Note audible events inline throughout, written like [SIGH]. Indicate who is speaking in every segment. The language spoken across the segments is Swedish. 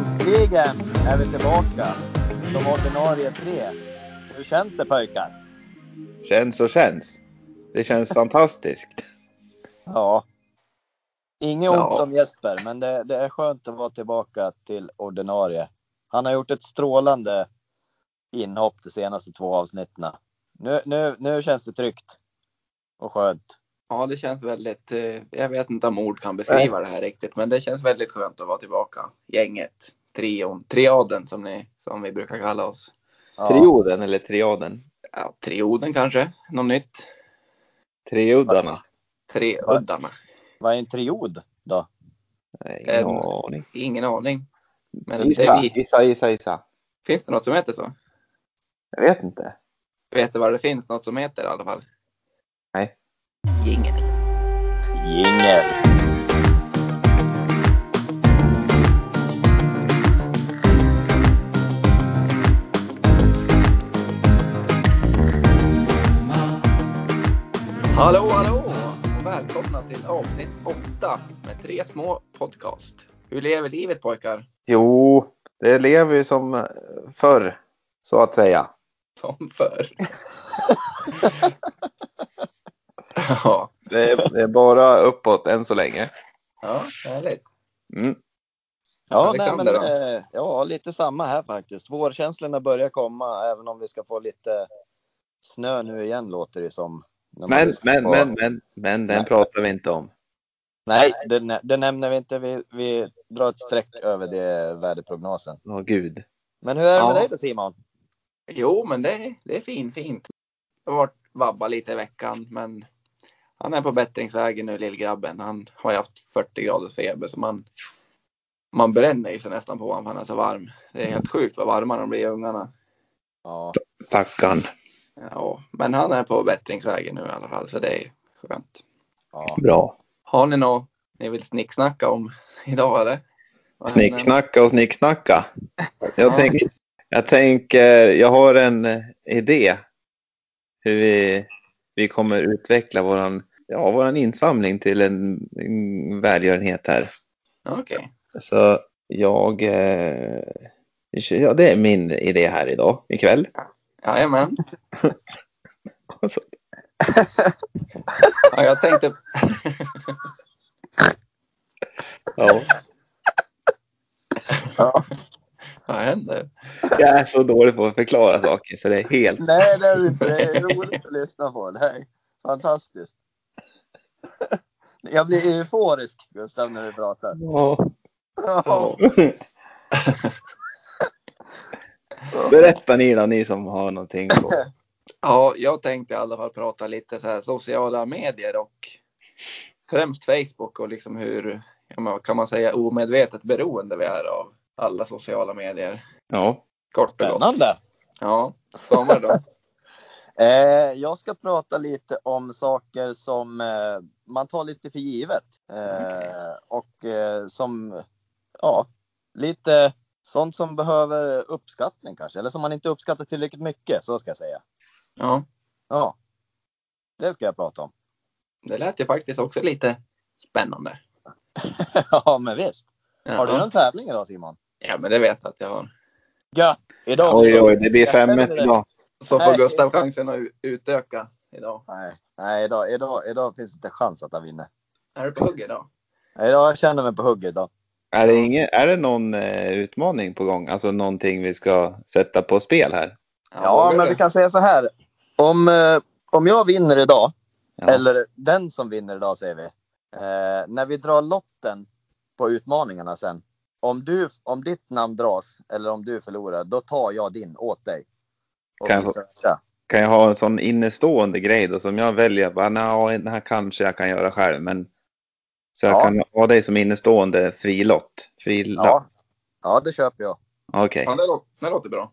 Speaker 1: Äntligen är vi tillbaka. De ordinarie tre. Hur känns det pojkar?
Speaker 2: Känns och känns. Det känns fantastiskt.
Speaker 1: Ja. Inget
Speaker 2: Ja.
Speaker 1: ont om Jesper, men det, det är skönt att vara tillbaka till ordinarie. Han har gjort ett strålande inhopp de senaste två avsnitten. Nu, nu, nu känns det tryggt och skönt.
Speaker 3: [LAUGHS] Ja, det känns väldigt. eh, Jag vet inte om ord kan beskriva det här riktigt, men det känns väldigt skönt att vara tillbaka. Gänget, trion, triaden som, ni, som vi brukar kalla oss.
Speaker 1: Ja.
Speaker 2: Trioden eller triaden?
Speaker 3: Ja, trioden kanske, något nytt.
Speaker 2: Treuddarna?
Speaker 3: Treuddarna.
Speaker 1: Vad är en triod då?
Speaker 2: Nej,
Speaker 3: En-
Speaker 2: ingen aning.
Speaker 3: Ingen aning. Men det
Speaker 2: Gissa,
Speaker 3: är vi.
Speaker 2: gissa, gissa, gissa.
Speaker 3: Finns det något som heter så?
Speaker 2: Jag vet inte.
Speaker 3: Vet du vad det finns något som heter i alla fall?
Speaker 2: Nej.
Speaker 3: Jingel.
Speaker 1: Jingel.
Speaker 3: Hallå, hallå! Och välkomna till avsnitt åtta med tre små podcast. Hur lever livet pojkar?
Speaker 2: Jo, det lever ju som eh, förr, så att säga.
Speaker 3: Som [LAUGHS] förr. ja.
Speaker 2: Det är, det är bara uppåt än så länge.
Speaker 3: Ja, härligt.
Speaker 2: Mm.
Speaker 1: Ja, nej,
Speaker 3: Alexander
Speaker 1: men, eh, ja, lite samma här faktiskt. Vårkänslorna börjar komma, även om vi ska få lite snö nu igen låter det som. När man
Speaker 2: Men,
Speaker 1: lyssnar
Speaker 2: men,
Speaker 1: på-
Speaker 2: men, men, men, den
Speaker 1: Nej.
Speaker 2: pratar vi inte om.
Speaker 1: Nej, det, nä- det nämner vi inte. Vi, vi drar ett streck över det väderprognosen.
Speaker 2: Åh gud.
Speaker 1: Men hur är det med
Speaker 3: Ja.
Speaker 1: dig då Simon?
Speaker 3: Jo, men det, det är fin, fint. Jag har varit vabba lite i veckan, men han är på bättringsvägen nu, lillgrabben. Han har ju haft 40 graders feber, så man, man bränner ju sig nästan på honom för han är så varm. Det är helt sjukt vad varma de blir, ungarna.
Speaker 1: Ja,
Speaker 2: Stackarn.
Speaker 3: Ja, men han är på bättringsvägen nu i alla fall, så det är skönt.
Speaker 1: ja.
Speaker 2: Bra.
Speaker 3: Har ni något ni vill snicksnacka om [LAUGHS] idag, eller? Vad händer?
Speaker 2: Snicksnacka och eh, snicksnacka. Jag,
Speaker 3: Ja.
Speaker 2: tänk, jag tänker, jag har en eh, idé hur vi, vi kommer utveckla våran, ja, våran insamling till en, en välgörenhet här.
Speaker 3: Okej.
Speaker 2: Så jag, eh, ja det är min idé här idag, ikväll.
Speaker 3: Jajamän.
Speaker 2: Alltså.
Speaker 3: Ja, jag tänkte...
Speaker 2: Ja,
Speaker 3: Vad händer?
Speaker 2: jag är så dålig på att förklara saker så det är helt,
Speaker 1: Nej, det är du inte. Det är roligt att lyssna på. Det är fantastiskt. Jag blir euforisk Gustav när du pratar.
Speaker 2: ja.
Speaker 3: Ja.
Speaker 2: Berätta Nina, ni som har någonting på.
Speaker 3: Ja, jag tänkte i alla fall prata lite så här sociala medier och främst Facebook och liksom hur, ja, men kan man säga, omedvetet beroende vi är av alla sociala medier.
Speaker 2: Ja,
Speaker 3: Kort och gott.
Speaker 1: Spännande.
Speaker 3: Ja, Samuel då?
Speaker 1: Eh, jag ska prata lite om saker som eh, man tar lite för givet. Eh, Och eh, som, ja, lite sånt som behöver uppskattning kanske. Eller som man inte uppskattar tillräckligt mycket, så ska jag säga.
Speaker 3: Ja,
Speaker 1: Ja, det ska jag prata om. [LAUGHS]
Speaker 3: det lät ju faktiskt också lite spännande.
Speaker 1: ja, men visst.
Speaker 3: Ja,
Speaker 1: Har du någon tävling idag Simon?
Speaker 3: ja men det vet jag att jag har.
Speaker 1: Gött! Idag.
Speaker 2: oj oj, det blir 5-1 idag.
Speaker 3: Så får
Speaker 1: Nej.
Speaker 3: Gustav chansen att u- utöka idag.
Speaker 1: Nej, nej idag, idag, idag finns inte chans att han vinner.
Speaker 3: Är du på hugg idag?
Speaker 1: Nej, Idag, jag känner mig på hugget idag.
Speaker 2: Är det, ingen, är det någon eh, utmaning på gång? Alltså någonting vi ska sätta på spel här?
Speaker 1: Ja,
Speaker 3: vågar
Speaker 1: men
Speaker 3: du?
Speaker 1: vi kan säga så här. Om, eh, om jag vinner idag,
Speaker 2: Ja.
Speaker 1: eller den som vinner idag säger vi, eh, när vi drar lotten på utmaningarna sen, om, du, om ditt namn dras eller om du förlorar, då tar jag din åt dig. Och
Speaker 2: Kan jag
Speaker 1: vice versa.
Speaker 2: Kan jag ha en sån innestående grej då som jag väljer? Bara, "Nja, den här kanske jag kan göra själv, men... Så jag
Speaker 1: Ja.
Speaker 2: kan ha dig som innestående frilott? Frilapp?
Speaker 1: Ja. ja, det köper jag.
Speaker 2: Okej,
Speaker 3: Ja, det, låter, det låter bra.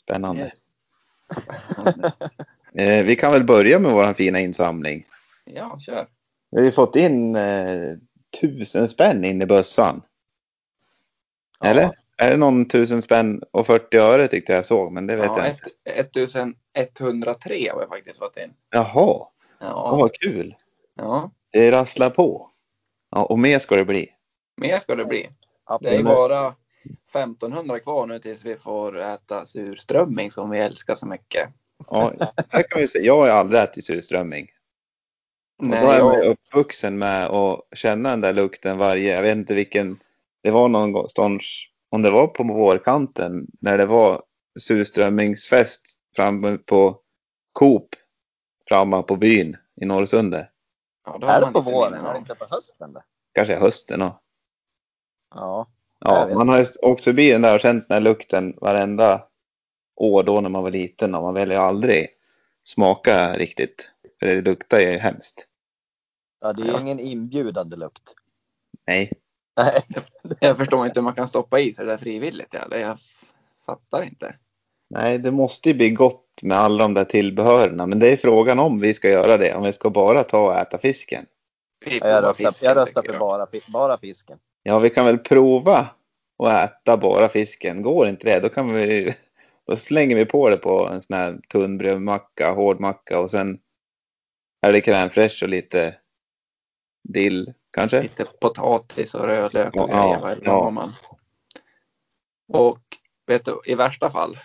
Speaker 2: spännande.
Speaker 3: Yes.
Speaker 2: Eh, vi kan väl börja med vår fina insamling.
Speaker 3: Ja, kör.
Speaker 2: Vi har ju fått in eh, tusen spänn in i
Speaker 1: Ja.
Speaker 2: bössan. Eller? Är det någon tusen spänn och 40 öre tyckte jag såg, men det vet
Speaker 3: Ja,
Speaker 2: jag inte.
Speaker 3: ett, 1103 har jag faktiskt fått in.
Speaker 2: Jaha,
Speaker 3: Ja,
Speaker 2: oh, vad kul.
Speaker 3: ja.
Speaker 2: Det rasslar på. Ja, och mer ska det bli.
Speaker 3: Mer ska det bli. Det är
Speaker 1: Absolut.
Speaker 3: bara 1500 kvar nu tills vi får äta surströmming som vi älskar så mycket.
Speaker 2: Ja, här kan vi säga, jag har aldrig ätit surströmming. Och
Speaker 3: Nej,
Speaker 2: då är man
Speaker 3: jag,
Speaker 2: ju uppvuxen med att känna den där lukten varje, jag vet inte vilken, det var någonstans, om det var på vårkanten, när det var surströmmingsfest framme på Coop, framme på byn i Norrsundet.
Speaker 3: ja, då har
Speaker 1: Är det
Speaker 3: man
Speaker 1: på
Speaker 3: lite
Speaker 1: våren?
Speaker 3: minnen
Speaker 1: Är
Speaker 3: av.
Speaker 1: det inte på hösten? Det?
Speaker 2: Kanske hösten då.
Speaker 1: Ja. Jag
Speaker 2: Ja,
Speaker 1: vet.
Speaker 2: man har ju åkt förbi den där och känt den här lukten varenda år då när man var liten och man väl aldrig smaka riktigt. För det luktar ju hemskt.
Speaker 1: Ja, det är
Speaker 3: Ja.
Speaker 1: ju ingen inbjudande lukt. [LAUGHS]
Speaker 2: Nej.
Speaker 1: Nej.
Speaker 3: Jag förstår inte hur man kan stoppa i sig det där frivilligt. Eller jag fattar inte.
Speaker 2: Nej, det måste ju bli gott med alla de där tillbehörerna. Men det är frågan om vi ska göra det. Om vi ska bara ta och äta fisken.
Speaker 3: Vi
Speaker 1: Jag
Speaker 3: provar
Speaker 1: röstar,
Speaker 3: fisken,
Speaker 1: jag röstar
Speaker 3: tycker
Speaker 1: på bara, fi- bara fisken.
Speaker 2: Ja, vi kan väl prova och äta bara fisken. Går inte det, då kan vi... Då slänger vi på det på en sån här tunn brödmacka, hård macka och sen är det crème fraîche och lite dill kanske.
Speaker 3: [LAUGHS] Lite potatis och rödlök och
Speaker 2: Ja,
Speaker 3: grejer. Vad
Speaker 2: ja.
Speaker 3: har man. Och vet du, i värsta fall.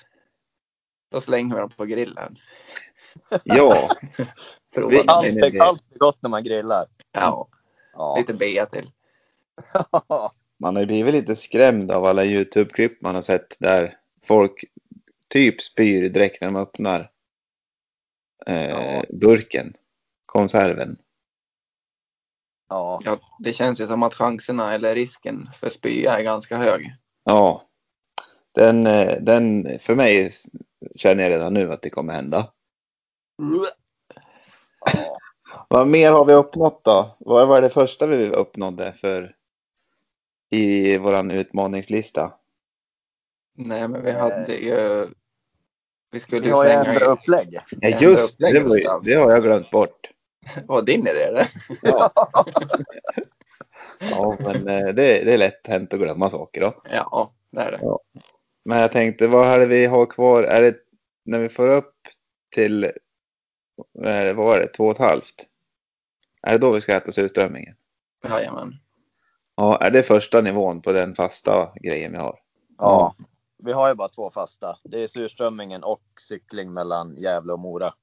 Speaker 3: Då slänger vi dem på grillen.
Speaker 2: Ja,
Speaker 3: Prova
Speaker 2: Vi- nej,
Speaker 3: dem.
Speaker 1: Allt,
Speaker 2: nej, nej.
Speaker 1: är- allt är gott när man grillar.
Speaker 3: Ja,
Speaker 1: Ja.
Speaker 3: lite bea till.
Speaker 2: man har ju blivit lite skrämd av alla YouTube-klipp man har sett där folk typ spyr direkt när de öppnar eh,
Speaker 1: Ja.
Speaker 2: burken, konserven.
Speaker 1: [LAUGHS] ja.
Speaker 3: Ja, det känns ju som att chanserna eller risken för spya är ganska hög.
Speaker 2: Ja, den, eh, den för mig s- känner jag redan nu att det kommer hända.
Speaker 1: ja.
Speaker 2: Vad mer har vi uppnått då? Vad var det första vi uppnådde för i våran utmaningslista?
Speaker 3: Nej, men vi hade ju. Vi skulle
Speaker 1: Vi
Speaker 3: ju
Speaker 1: har ju
Speaker 3: slänga
Speaker 1: ändra
Speaker 3: in.
Speaker 1: upplägg.
Speaker 2: Ja,
Speaker 3: Ändra
Speaker 2: just det,
Speaker 3: upplägget
Speaker 2: var, ju-
Speaker 3: någonstans.
Speaker 2: det har jag glömt bort.
Speaker 3: Vad din idé eller?
Speaker 2: Ja, ja men eh, det, det är lätt hänt att glömma saker då.
Speaker 3: Ja, det är det.
Speaker 2: Men jag tänkte, vad är det vi har kvar? Är det när vi får upp till, vad är det, vad är det, två och ett halvt? Är det då vi ska äta surströmmingen?
Speaker 3: Jajamän.
Speaker 2: Ja, är det första nivån på den fasta grejen vi har?
Speaker 1: Ja. Vi har ju bara två fasta. Det är surströmmingen och cykling mellan Gävle och Mora.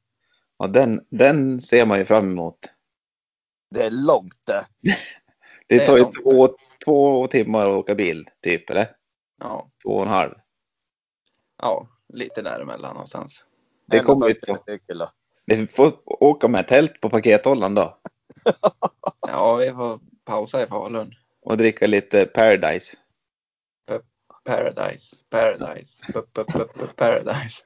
Speaker 2: Ja, den, den ser man ju fram emot.
Speaker 1: Det är långt det.
Speaker 2: Det,
Speaker 3: Det är
Speaker 2: tar ju
Speaker 3: långt.
Speaker 2: två, två timmar att åka bil, typ, eller?
Speaker 3: Ja,
Speaker 2: Två och en halv.
Speaker 3: ja lite däremellan någonstans.
Speaker 2: Det kommer ju ta.
Speaker 1: 140 stycken då.
Speaker 2: Vi får åka med tält på pakethållaren då
Speaker 3: Ja, vi får pausa i Falun.
Speaker 2: och dricka lite Paradise.
Speaker 3: Paradise, paradise, p- p- p- p-
Speaker 2: [LAUGHS]
Speaker 3: paradise.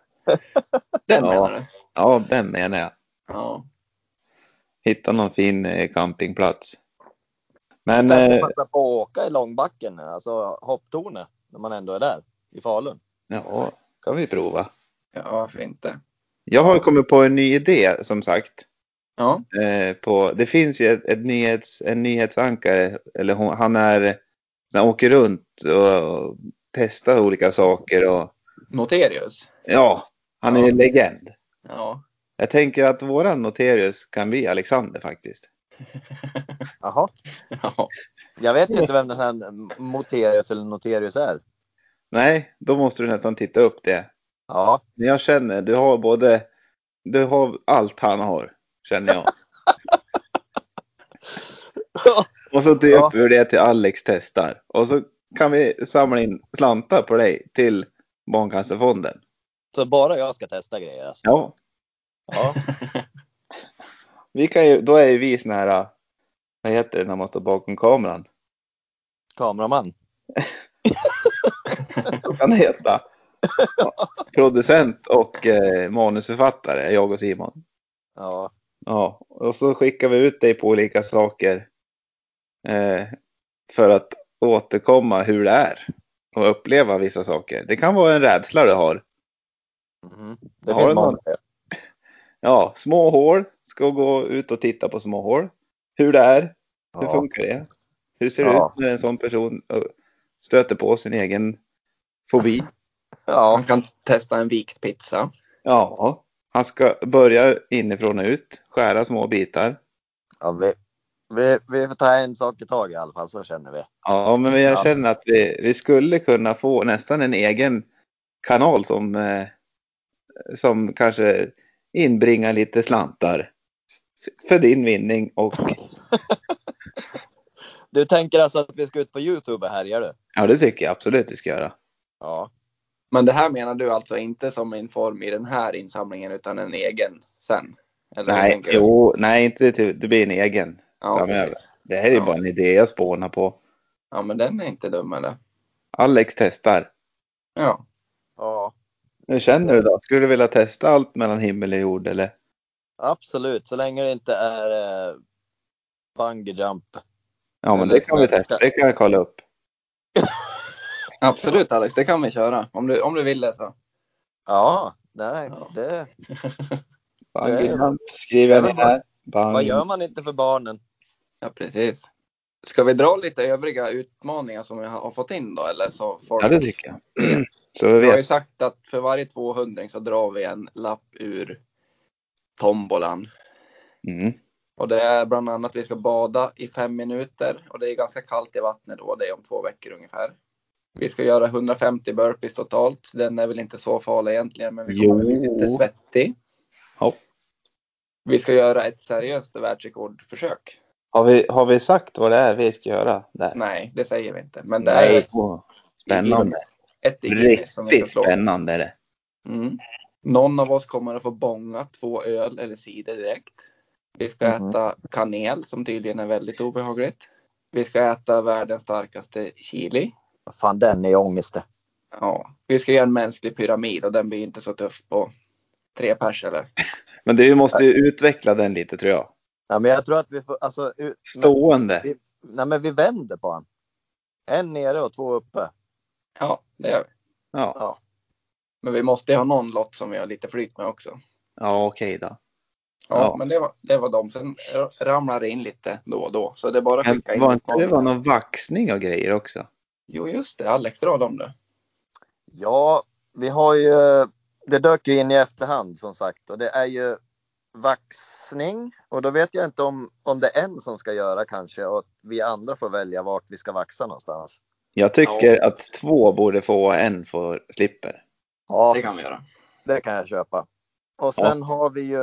Speaker 3: Den
Speaker 2: Ja.
Speaker 3: menar du?
Speaker 2: Ja, den menar jag.
Speaker 3: Ja.
Speaker 2: Hitta någon fin eh, campingplats. Men...
Speaker 1: Kan
Speaker 2: eh,
Speaker 1: man passa på att åka i långbacken, alltså hopptornet, när man ändå är där i Falun.
Speaker 2: Ja, kan vi prova.
Speaker 3: ja, varför inte?
Speaker 2: Jag har kommit på en ny idé som sagt.
Speaker 3: Ja,
Speaker 2: Eh, på, det finns ju ett, ett nyhets, en nyhetsankare, eller hon, han är, han åker runt och, och testar olika saker och
Speaker 3: Noterius.
Speaker 2: ja, han är
Speaker 3: Ja.
Speaker 2: en legend.
Speaker 3: Ja,
Speaker 2: Jag tänker att våran Noterius kan bli Alexander faktiskt.
Speaker 1: Jaha.
Speaker 3: ja.
Speaker 1: Jag vet ju inte vem den här Moterius eller Noterius är.
Speaker 2: Nej, då måste du nästan titta upp det.
Speaker 1: Ja,
Speaker 2: Men jag känner, du har både, du har allt han har, känner jag. Och så
Speaker 1: Ja.
Speaker 2: döper vi det till Alex testar. Och så kan vi samla in slantar på dig till Barncancerfonden.
Speaker 1: så bara jag ska testa grejer alltså.
Speaker 2: Ja.
Speaker 1: Ja,
Speaker 2: Vi kan ju, då är ju vi såna här, vad heter det när man står bakom kameran?
Speaker 1: kameraman.
Speaker 2: Vad kan det heta? Ja. Producent och eh, manusförfattare, är jag och Simon.
Speaker 1: Ja,
Speaker 2: Ja, och så skickar vi ut dig på olika saker. Eh, för att återkomma hur det är. Och uppleva vissa saker. Det kan vara en rädsla du har.
Speaker 1: mhm. det
Speaker 2: Har du
Speaker 1: finns
Speaker 2: någon-
Speaker 1: många.
Speaker 2: Ja, små hål. Ska gå ut och titta på små hål. Hur det är. Hur
Speaker 1: Ja.
Speaker 2: funkar det? Hur ser det
Speaker 1: Ja.
Speaker 2: ut när en sån person ö, stöter på sin egen fobi?
Speaker 1: ja,
Speaker 3: Man kan testa en vikt pizza.
Speaker 2: Ja, han ska börja inifrån och ut. Skära små bitar.
Speaker 1: ja vi, Vi, vi får ta en sak i taget i alla fall, så känner vi.
Speaker 2: Ja, men
Speaker 1: Ja.
Speaker 2: jag känner att vi, vi skulle kunna få nästan en egen kanal som, eh, som kanske inbringar lite slantar. F- För din vinning och
Speaker 1: Du tänker alltså att vi ska ut på Youtube här, gör du?
Speaker 2: ja, det tycker jag absolut vi ska göra.
Speaker 1: Ja.
Speaker 3: Men det här menar du alltså inte som en form i den här insamlingen utan en egen sen? Eller hur
Speaker 2: Nej,
Speaker 3: tänker du?
Speaker 2: jo, nej, inte till, det blir en egen
Speaker 3: ja,
Speaker 2: framöver.
Speaker 3: precis.
Speaker 2: Det här är ju
Speaker 3: Ja.
Speaker 2: bara en idé jag spånar på.
Speaker 3: ja, men den är inte dum eller?
Speaker 2: Alex testar.
Speaker 3: Ja.
Speaker 1: ja.
Speaker 2: Hur känner du då? Skulle du vilja testa allt mellan himmel och jord eller?
Speaker 1: Absolut, så länge det inte är eh, bungee jump.
Speaker 2: Ja, men
Speaker 1: Eller
Speaker 2: det kan vi
Speaker 1: ska-
Speaker 2: testa. Det kan jag kolla upp.
Speaker 3: Absolut Alex, det kan vi köra. Om du, om du vill det så.
Speaker 1: Ja, nej,
Speaker 3: Ja.
Speaker 1: det,
Speaker 2: Bang,
Speaker 1: Det-
Speaker 2: bang, skriver jag
Speaker 1: Ja,
Speaker 2: ner
Speaker 1: men
Speaker 2: här. Bang.
Speaker 1: vad gör man inte för barnen?
Speaker 3: Ja, precis. Ska vi dra lite övriga utmaningar som vi har har fått in då? Eller så folk...
Speaker 2: Ja, det tycker jag. [CLEARS THROAT] Så vi
Speaker 3: Vi har ju
Speaker 2: vet.
Speaker 3: sagt att för varje 200 så drar vi en lapp ur tombolan.
Speaker 2: Mm.
Speaker 3: Och det är bland annat att vi ska bada i fem minuter och det är ganska kallt i vattnet då. Det är om två veckor ungefär. Vi ska göra 150 burpees totalt. Den är väl inte så farlig egentligen, men vi kommer
Speaker 2: Jo.
Speaker 3: bli lite svettig.
Speaker 2: Ja.
Speaker 3: Vi ska göra ett seriöst världsrekordförsök.
Speaker 2: Har, vi, har vi sagt vad det är vi ska göra där?
Speaker 3: Nej, det säger vi inte. Men det
Speaker 2: Nej.
Speaker 3: är ett
Speaker 2: Åh,
Speaker 3: i Guinness.
Speaker 2: Spännande.
Speaker 3: ett i Guinness som vi ska
Speaker 2: Riktigt
Speaker 3: slå.
Speaker 2: spännande är det.
Speaker 3: Mm. Någon av oss kommer att få bånga två öl eller cider direkt. Vi ska
Speaker 1: Mhm.
Speaker 3: äta kanel som tydligen är väldigt obehagligt. Vi ska äta världens starkaste chili.
Speaker 1: Vad Fan, den är ångest det.
Speaker 3: Ja, vi ska göra en mänsklig pyramid och den blir inte så tuff på tre pers eller?
Speaker 2: Men det, vi måste ju utveckla den lite tror jag.
Speaker 1: Ja, men jag tror att vi får, alltså, ut,
Speaker 2: Stående.
Speaker 1: nej, men vi vänder på han. En nere och två uppe.
Speaker 3: Ja, det gör vi.
Speaker 2: Ja,
Speaker 3: Men vi måste ju ha någon lott som vi har lite flyt med också.
Speaker 2: ja okej då.
Speaker 3: Ja,
Speaker 2: Ja.
Speaker 3: men det var, det var dem. Sen ramlar det in lite då och då. Så det är bara att
Speaker 2: Men
Speaker 3: skicka in.
Speaker 2: var inte det
Speaker 3: utmaningar.
Speaker 2: var någon vaxning och grejer också?
Speaker 3: Jo, just det. Alex, dra dem du.
Speaker 1: Ja, vi har ju, det dök ju in i efterhand som sagt och det är ju vaxning och då vet jag inte om, om det är en som ska göra kanske och vi andra får välja vart vi ska vaxa någonstans.
Speaker 2: Jag tycker att två borde få och en får slipper.
Speaker 1: Ja,
Speaker 3: Det kan vi göra.
Speaker 1: Det kan jag köpa. Och sen har vi ju,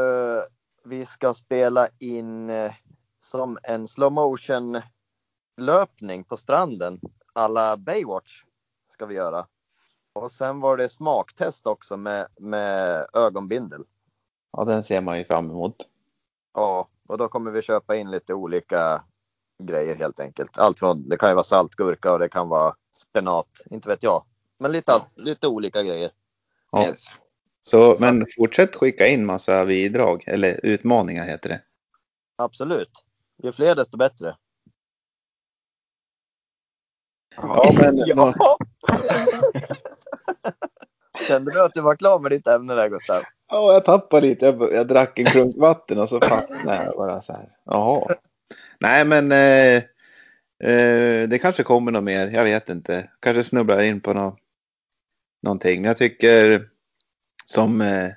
Speaker 1: vi ska spela in eh, som en slow motion löpning på stranden. Alla Baywatch ska vi göra. Och sen var det smaktest också med, med ögonbindel.
Speaker 2: Ja, den ser man ju fram emot.
Speaker 1: Ja, och då kommer vi köpa in lite olika grejer helt enkelt. Allt från, det kan ju vara saltgurka och det kan vara spenat, inte vet jag. Men lite, allt- lite olika grejer.
Speaker 2: Ja.
Speaker 3: Yes.
Speaker 2: Så, men fortsätt skicka in massa bidrag, eller utmaningar heter det.
Speaker 1: Absolut. Ju fler desto bättre.
Speaker 2: Ja, men
Speaker 1: Ja. Kände du att du var klar med ditt ämne där Gustav?
Speaker 2: Ja, jag tappade lite. Jag, jag drack en klunk vatten och så fastnade jag bara så här. Jaha. Nej, men eh, eh, det kanske kommer något mer. Jag vet inte. Kanske snubblar jag in på nå någonting. Men jag tycker som... Eh,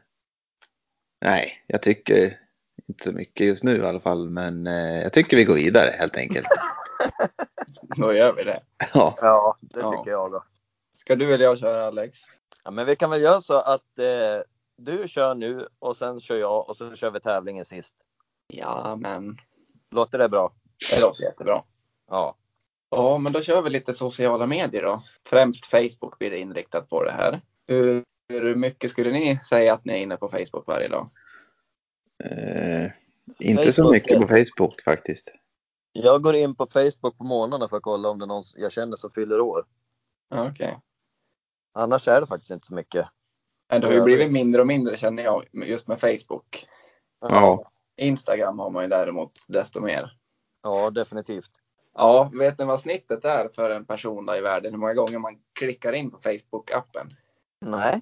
Speaker 2: nej, jag tycker inte så mycket just nu i alla fall. Men eh, jag tycker vi går vidare helt enkelt.
Speaker 3: Då gör vi det.
Speaker 2: Ja,
Speaker 1: Ja, det
Speaker 3: Ja.
Speaker 1: tycker jag då.
Speaker 3: Ska du eller jag köra Alex?
Speaker 1: Ja, men vi kan väl göra så att eh, du kör nu och sen kör jag och så kör vi tävlingen sist.
Speaker 3: Ja, men.
Speaker 1: Låter det bra?
Speaker 3: Det låter jättebra.
Speaker 1: Ja.
Speaker 3: Ja, men då kör vi lite sociala medier då. Främst Facebook blir det inriktat på det här. Hur, hur mycket skulle ni säga att ni är inne på Facebook varje dag?
Speaker 2: eh, inte så
Speaker 1: Facebook,
Speaker 2: mycket på Facebook faktiskt.
Speaker 1: Jag går in på Facebook på morgnarna för att kolla om det är någon jag känner som fyller år.
Speaker 3: Ja, Okej.
Speaker 1: Annars är det faktiskt inte så mycket.
Speaker 3: Nej, Det har ju blivit mindre och mindre känner jag just med Facebook.
Speaker 2: Ja.
Speaker 3: Instagram har man ju däremot desto mer.
Speaker 1: Ja, definitivt.
Speaker 3: Ja, vet ni vad snittet är för en person där i världen? Hur många gånger man klickar in på Facebook-appen?
Speaker 1: Nej.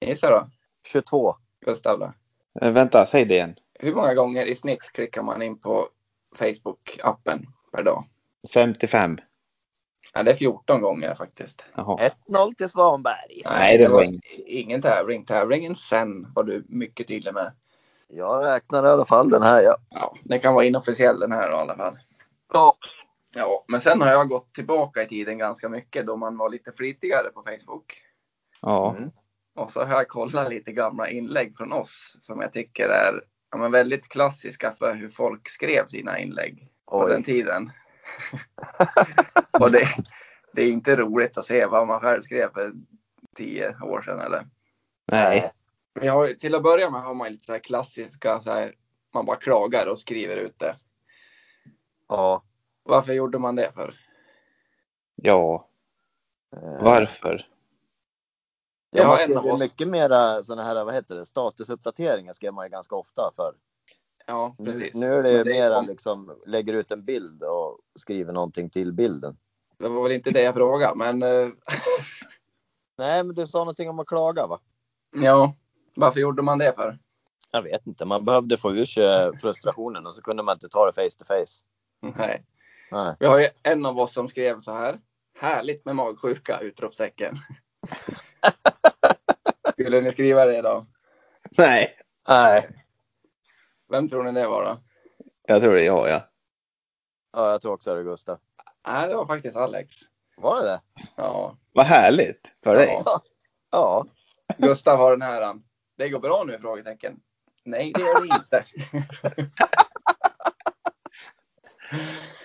Speaker 3: Gissa då,
Speaker 1: 22.
Speaker 3: Gustav. Då.
Speaker 2: Eh, vänta, säg det igen.
Speaker 3: Hur många gånger i snitt klickar man in på Facebook-appen per dag?
Speaker 2: 55.
Speaker 3: Ja, det är 14 gånger faktiskt.
Speaker 2: Jaha.
Speaker 1: 1-0 till Svanberg.
Speaker 2: Nej, det var inget.
Speaker 3: Ingen tävling. Tävlingen sen var du mycket tydlig med.
Speaker 1: Jag räknar i alla fall den här. Ja.
Speaker 3: Ja, den kan vara inofficiell den här då, i alla fall. Ja. ja, men sen har jag gått tillbaka i tiden ganska mycket då man var lite flitigare på Facebook.
Speaker 2: Ja,
Speaker 1: Mm.
Speaker 3: Och så har jag kollat lite gamla inlägg från oss som jag tycker är ja, men väldigt klassiska för hur folk skrev sina inlägg på
Speaker 1: Oj.
Speaker 3: den tiden. [LAUGHS] och det, det är inte roligt att se vad man själv skrev för tio år sedan eller
Speaker 2: nej.
Speaker 3: vi har, till att börja med har man lite så här klassiska, så här, man bara klagar och skriver ut det.
Speaker 1: Ja.
Speaker 3: Varför gjorde man det för?
Speaker 2: Ja,
Speaker 1: eh,
Speaker 2: varför?
Speaker 3: Jag
Speaker 1: Ja,
Speaker 3: har
Speaker 1: man
Speaker 3: en
Speaker 1: skrev
Speaker 3: av
Speaker 1: ju
Speaker 3: oss.
Speaker 1: mycket mera sådana här, vad heter det, statusuppdateringar skrev man ju ganska ofta för.
Speaker 3: Ja,
Speaker 1: Nu,
Speaker 3: precis.
Speaker 1: nu är det ju
Speaker 3: Men det är
Speaker 1: mera
Speaker 3: kom-
Speaker 1: liksom, lägger ut en bild och skriver någonting till bilden.
Speaker 3: Det var väl inte det jag frågade, men eh, [LAUGHS]
Speaker 1: Nej, men du sa någonting om att klaga va?
Speaker 3: ja, varför gjorde man det för? [LAUGHS]
Speaker 1: Jag vet inte, man behövde få ur sig frustrationen och så kunde man inte ta det face to face.
Speaker 3: Nej.
Speaker 1: Nej.
Speaker 3: Vi har ju en av oss som skrev så här. Härligt med magsjuka! Utropstecken. [LAUGHS] Skulle ni skriva det då?
Speaker 2: Nej,
Speaker 1: Nej,
Speaker 3: Vem tror ni det var då?
Speaker 2: jag tror det är jag, ja.
Speaker 1: ja, jag tror också det Gustav.
Speaker 3: Nej, det var faktiskt Alex.
Speaker 1: Var det det?
Speaker 3: Ja,
Speaker 2: Vad härligt för dig.
Speaker 3: Ja.
Speaker 1: Ja.
Speaker 3: Gustav har den här. um, Det går bra nu? Frågetecken. Nej, det gör det inte. [LAUGHS]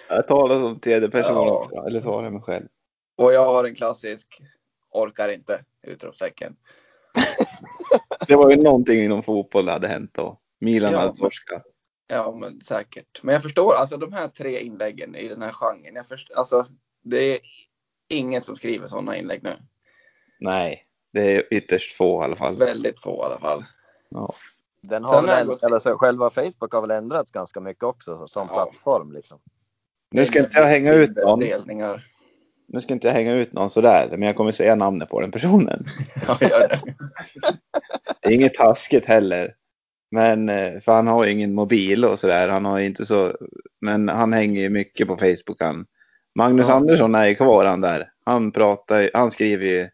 Speaker 2: Jag talar som tredje person
Speaker 3: Ja.
Speaker 2: också, eller svarar mig själv.
Speaker 3: Och jag har en klassisk. Orkar inte. Utropstecken.
Speaker 2: Det var ju någonting inom fotboll det hade hänt då. Milan
Speaker 3: Ja.
Speaker 2: hade torskat.
Speaker 3: Ja, men säkert. Men jag förstår alltså de här tre inläggen i den här genren. Jag förstår, alltså, det är ingen som skriver sådana inlägg nu.
Speaker 2: Nej, det är ytterst få i alla fall.
Speaker 3: Väldigt få i alla fall.
Speaker 2: Ja.
Speaker 1: Den
Speaker 3: Sen
Speaker 1: har
Speaker 3: har
Speaker 1: väl,
Speaker 3: jag gått-
Speaker 1: eller så, själva Facebook har väl ändrats ganska mycket också som
Speaker 3: Ja.
Speaker 1: plattform. Liksom.
Speaker 2: Nu ska inte jag hänga ut någon.
Speaker 3: Delningar.
Speaker 2: Nu ska inte jag hänga ut någon sådär, men jag kommer säga namnet på den personen.
Speaker 3: [LAUGHS] Ja, gör det.
Speaker 2: Det är inget taskigt heller. Men, eh, för han har ju ingen mobil och sådär. Han har ju inte så... Men han hänger ju mycket på Facebook han. Magnus
Speaker 3: Ja.
Speaker 2: Andersson är ju kvar han där. Han pratar ju- han skriver ju...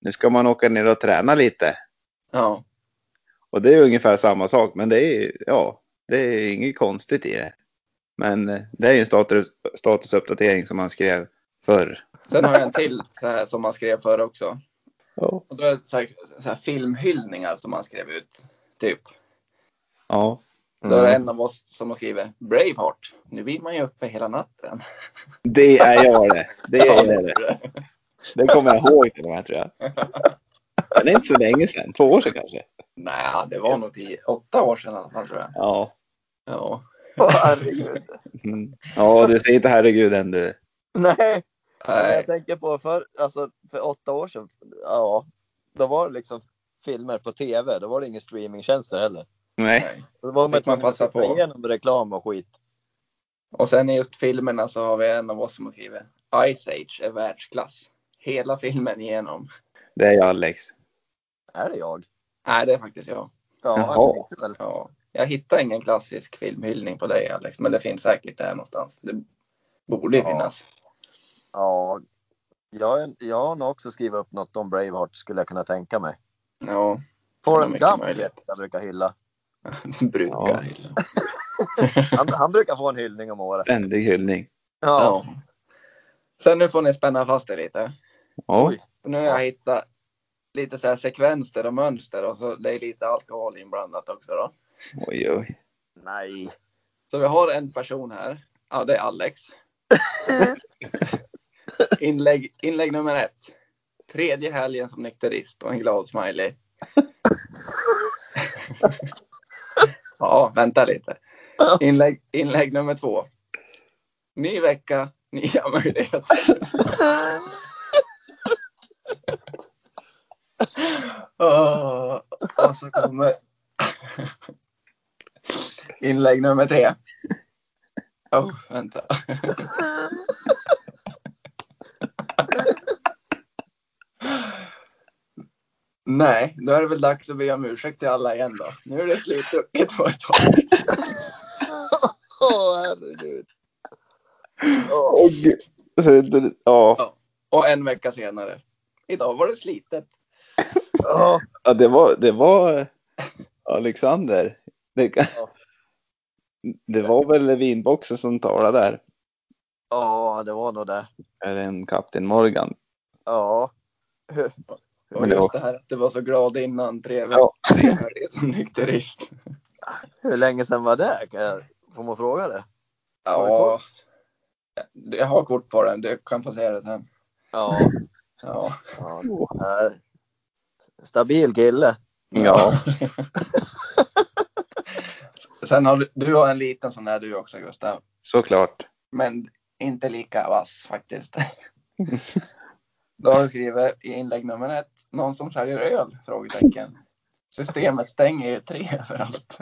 Speaker 2: Nu ska man åka ner och träna lite.
Speaker 3: Ja.
Speaker 2: Och det är ju ungefär samma sak, men det är ju- ja, det är inget konstigt i det. Men eh, det är ju en status, statusuppdatering som han skrev förr.
Speaker 3: Sen har jag en till så här, som man skrev förr också.
Speaker 2: Ja.
Speaker 3: Och då är det så här, så här, filmhyllningar som man skrev ut. Typ.
Speaker 2: Ja.
Speaker 3: Då är det
Speaker 1: Mm.
Speaker 3: en av oss som har skrivit Braveheart. Nu blir man ju uppe hela natten.
Speaker 2: Det är jag det. Det är jag det.
Speaker 3: [LAUGHS]
Speaker 2: Det kommer jag ihåg till och
Speaker 1: [LAUGHS]
Speaker 2: med tror jag. Men det är inte så länge sedan. Två år sedan kanske.
Speaker 3: Nej, det var nog tio, åtta år sedan i alla fall tror jag.
Speaker 2: Ja.
Speaker 3: Ja.
Speaker 1: [LAUGHS] Åh, herregud.
Speaker 2: Mm. Ja, du säger inte herregud än du.
Speaker 1: Nej, men jag
Speaker 3: Nej.
Speaker 1: tänker på för, alltså, för åtta år sedan. Ja, då var det liksom filmer på tv. Då var det ingen streamingtjänster heller.
Speaker 2: Nej.
Speaker 3: nej.
Speaker 1: Då var man
Speaker 3: Fick man
Speaker 1: tvungen att
Speaker 3: passa
Speaker 1: sitta
Speaker 3: på.
Speaker 1: igenom reklam och skit.
Speaker 3: Och sen i just filmerna så har vi en av oss som har skrivit Ice Age är världsklass. Hela filmen igenom.
Speaker 2: Det är ju Alex.
Speaker 1: Är det jag?
Speaker 3: Nej, det är faktiskt jag.
Speaker 1: Ja,
Speaker 2: Jaha.
Speaker 1: jag tänkte väl.
Speaker 3: Ja. Jag hittar ingen klassisk filmhyllning på dig Alex, men det finns säkert där någonstans. Det borde ju
Speaker 1: Ja.
Speaker 3: finnas.
Speaker 1: Ja, jag, jag har nog också skrivit upp något om Braveheart skulle jag kunna tänka mig.
Speaker 3: Ja, [LAUGHS]
Speaker 1: Forrest
Speaker 3: mycket
Speaker 1: Gump
Speaker 3: möjligt.
Speaker 1: vet jag, jag brukar hylla.
Speaker 3: det brukar. Ja.
Speaker 1: Han, han brukar få en hyllning om året.
Speaker 2: Ständig hyllning.
Speaker 1: Ja,
Speaker 3: Sen nu får ni spänna fast er lite.
Speaker 2: Ja.
Speaker 1: Oj.
Speaker 3: För Nu har jag hittat lite så här sekvenser och mönster och så det är lite alkohol inblandat också då.
Speaker 2: Oj, oj.
Speaker 3: [LAUGHS]
Speaker 1: nej.
Speaker 3: Så vi har en person här. Ja, det är Alex. Inlägg, inlägg nummer ett. Tredje helgen som nykterist och en glad smiley. [LAUGHS] ja, vänta lite. Inlägg, inlägg nummer två. Ny vecka, nya [LAUGHS] möjligheter. Åh, och så kommer inlägg nummer tre. Oh, vänta. Nej, då är det väl dags att be om ursäkt till alla igen då. Nu är det slutdrucket på ett tag.
Speaker 1: Åh, herregud.
Speaker 2: Åh, gud. Så är det- Ja.
Speaker 3: Och en vecka senare. Idag var det slitet.
Speaker 1: Ja,
Speaker 2: ja, det var, det var eh, Alexander. Det, det var väl vinboxen som talade där.
Speaker 1: Ja, det var nog det.
Speaker 2: Eller en Kapten Morgan.
Speaker 1: Ja.
Speaker 3: Och
Speaker 2: Men det
Speaker 3: just
Speaker 2: var-
Speaker 3: det här att du var så glad innan tre veckor
Speaker 2: Ja.
Speaker 3: [LAUGHS] ja. som nykterist.
Speaker 1: Hur länge sedan var det? Kan jag, får man fråga det? Har du
Speaker 3: Ja. Jag har kort på den, du kan få se det sen.
Speaker 1: Ja.
Speaker 3: Ja.
Speaker 1: ja. Eh, Stabil kille.
Speaker 2: Ja.
Speaker 3: [LAUGHS] sen har du, du har en liten sån där du också Gustav.
Speaker 2: Såklart.
Speaker 3: Men inte lika vass faktiskt. Då har du skrivit i inlägg nummer ett, någon som säljer öl? Frågetecken. Systemet stänger ju tre
Speaker 2: [LAUGHS]
Speaker 3: överallt.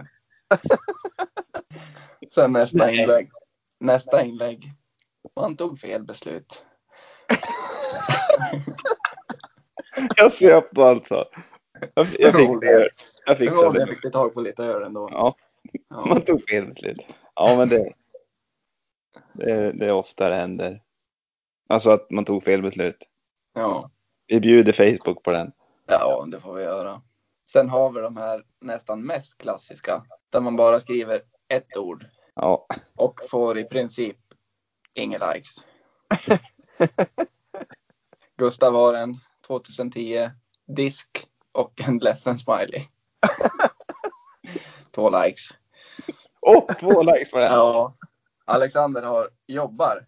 Speaker 3: Sen nästa
Speaker 1: Nej.
Speaker 3: inlägg. Nästa inlägg. Man tog fel beslut.
Speaker 2: Jag söpte alltså. Jag, jag fixade,
Speaker 3: Roligt.
Speaker 2: jag
Speaker 3: Det var
Speaker 2: fixade
Speaker 3: det
Speaker 2: Liksom det.
Speaker 3: fick du tag på lite öl ändå.
Speaker 2: Ja,
Speaker 3: Ja.
Speaker 2: [LAUGHS] man tog fel beslut. Ja, men det, det, det är ofta det händer. Alltså att man tog fel beslut.
Speaker 3: Ja.
Speaker 2: Vi bjuder Facebook på den.
Speaker 3: ja, det får vi göra. Sen har vi de här nästan mest klassiska. Där man bara skriver ett ord
Speaker 2: Ja,
Speaker 3: och får i princip inga likes. Gustav har en 2010 disk och en ledsen smiley. Två likes.
Speaker 2: åh [LAUGHS] två likes på den.
Speaker 3: Ja. Alexander har jobbar.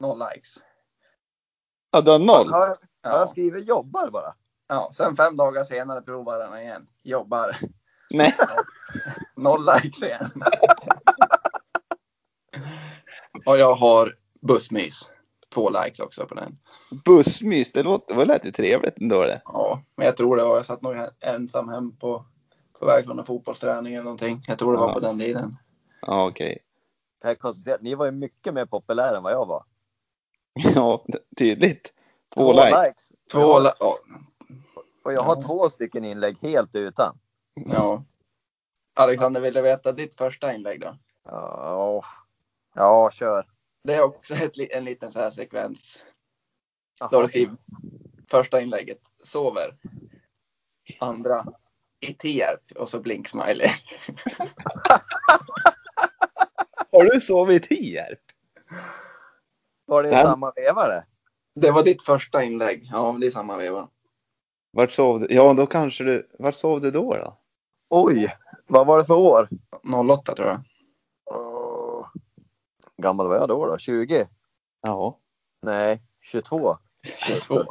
Speaker 3: Noll likes.
Speaker 2: Ja, du har noll.
Speaker 1: Har jag, har
Speaker 3: Ja.
Speaker 1: jag skrivit jobbar bara?
Speaker 3: Ja, sen fem dagar senare provar han igen. Jobbar.
Speaker 2: Nej.
Speaker 3: Noll likes [LAUGHS] igen. och jag har bussmys. Två likes också på den.
Speaker 2: Bussmys, det låter, det lät ju trevligt ändå det.
Speaker 3: Ja, men jag tror det var. Jag satt nog he- ensam hem på, på väg från en fotbollsträning eller någonting. Jag tror det var
Speaker 2: Ja.
Speaker 3: på den tiden.
Speaker 2: Ja, okej. [LAUGHS]
Speaker 1: Det här konstaterar- ni var ju mycket mer populära än vad jag var.
Speaker 2: Ja, tydligt. Två, likes.
Speaker 3: Två
Speaker 1: Ja.
Speaker 3: li- ja.
Speaker 1: Och jag har
Speaker 3: Ja.
Speaker 1: två stycken inlägg helt utan.
Speaker 3: ja. Alexander, vill du veta ditt första inlägg då?
Speaker 1: Ja, ja kör.
Speaker 3: Det är också ett, li- en liten så här sekvens. Då har
Speaker 1: Jaha.
Speaker 3: du skrivit första inlägget, sover. Andra, i Tierp och så blink-smiley.
Speaker 2: Har du sovit i Tierp?
Speaker 1: Var det i
Speaker 2: Den-
Speaker 1: samma veva det?
Speaker 3: Det var ditt första inlägg. Ja, men det är samma veva.
Speaker 2: Vart sov du? Ja, då kanske du... Vart sov du då? då?
Speaker 1: Oj, vad var det för år?
Speaker 3: 08 tror jag.
Speaker 1: Åh. Gammal var jag då? då? 20?
Speaker 2: Ja.
Speaker 1: Nej, 22.
Speaker 3: 22.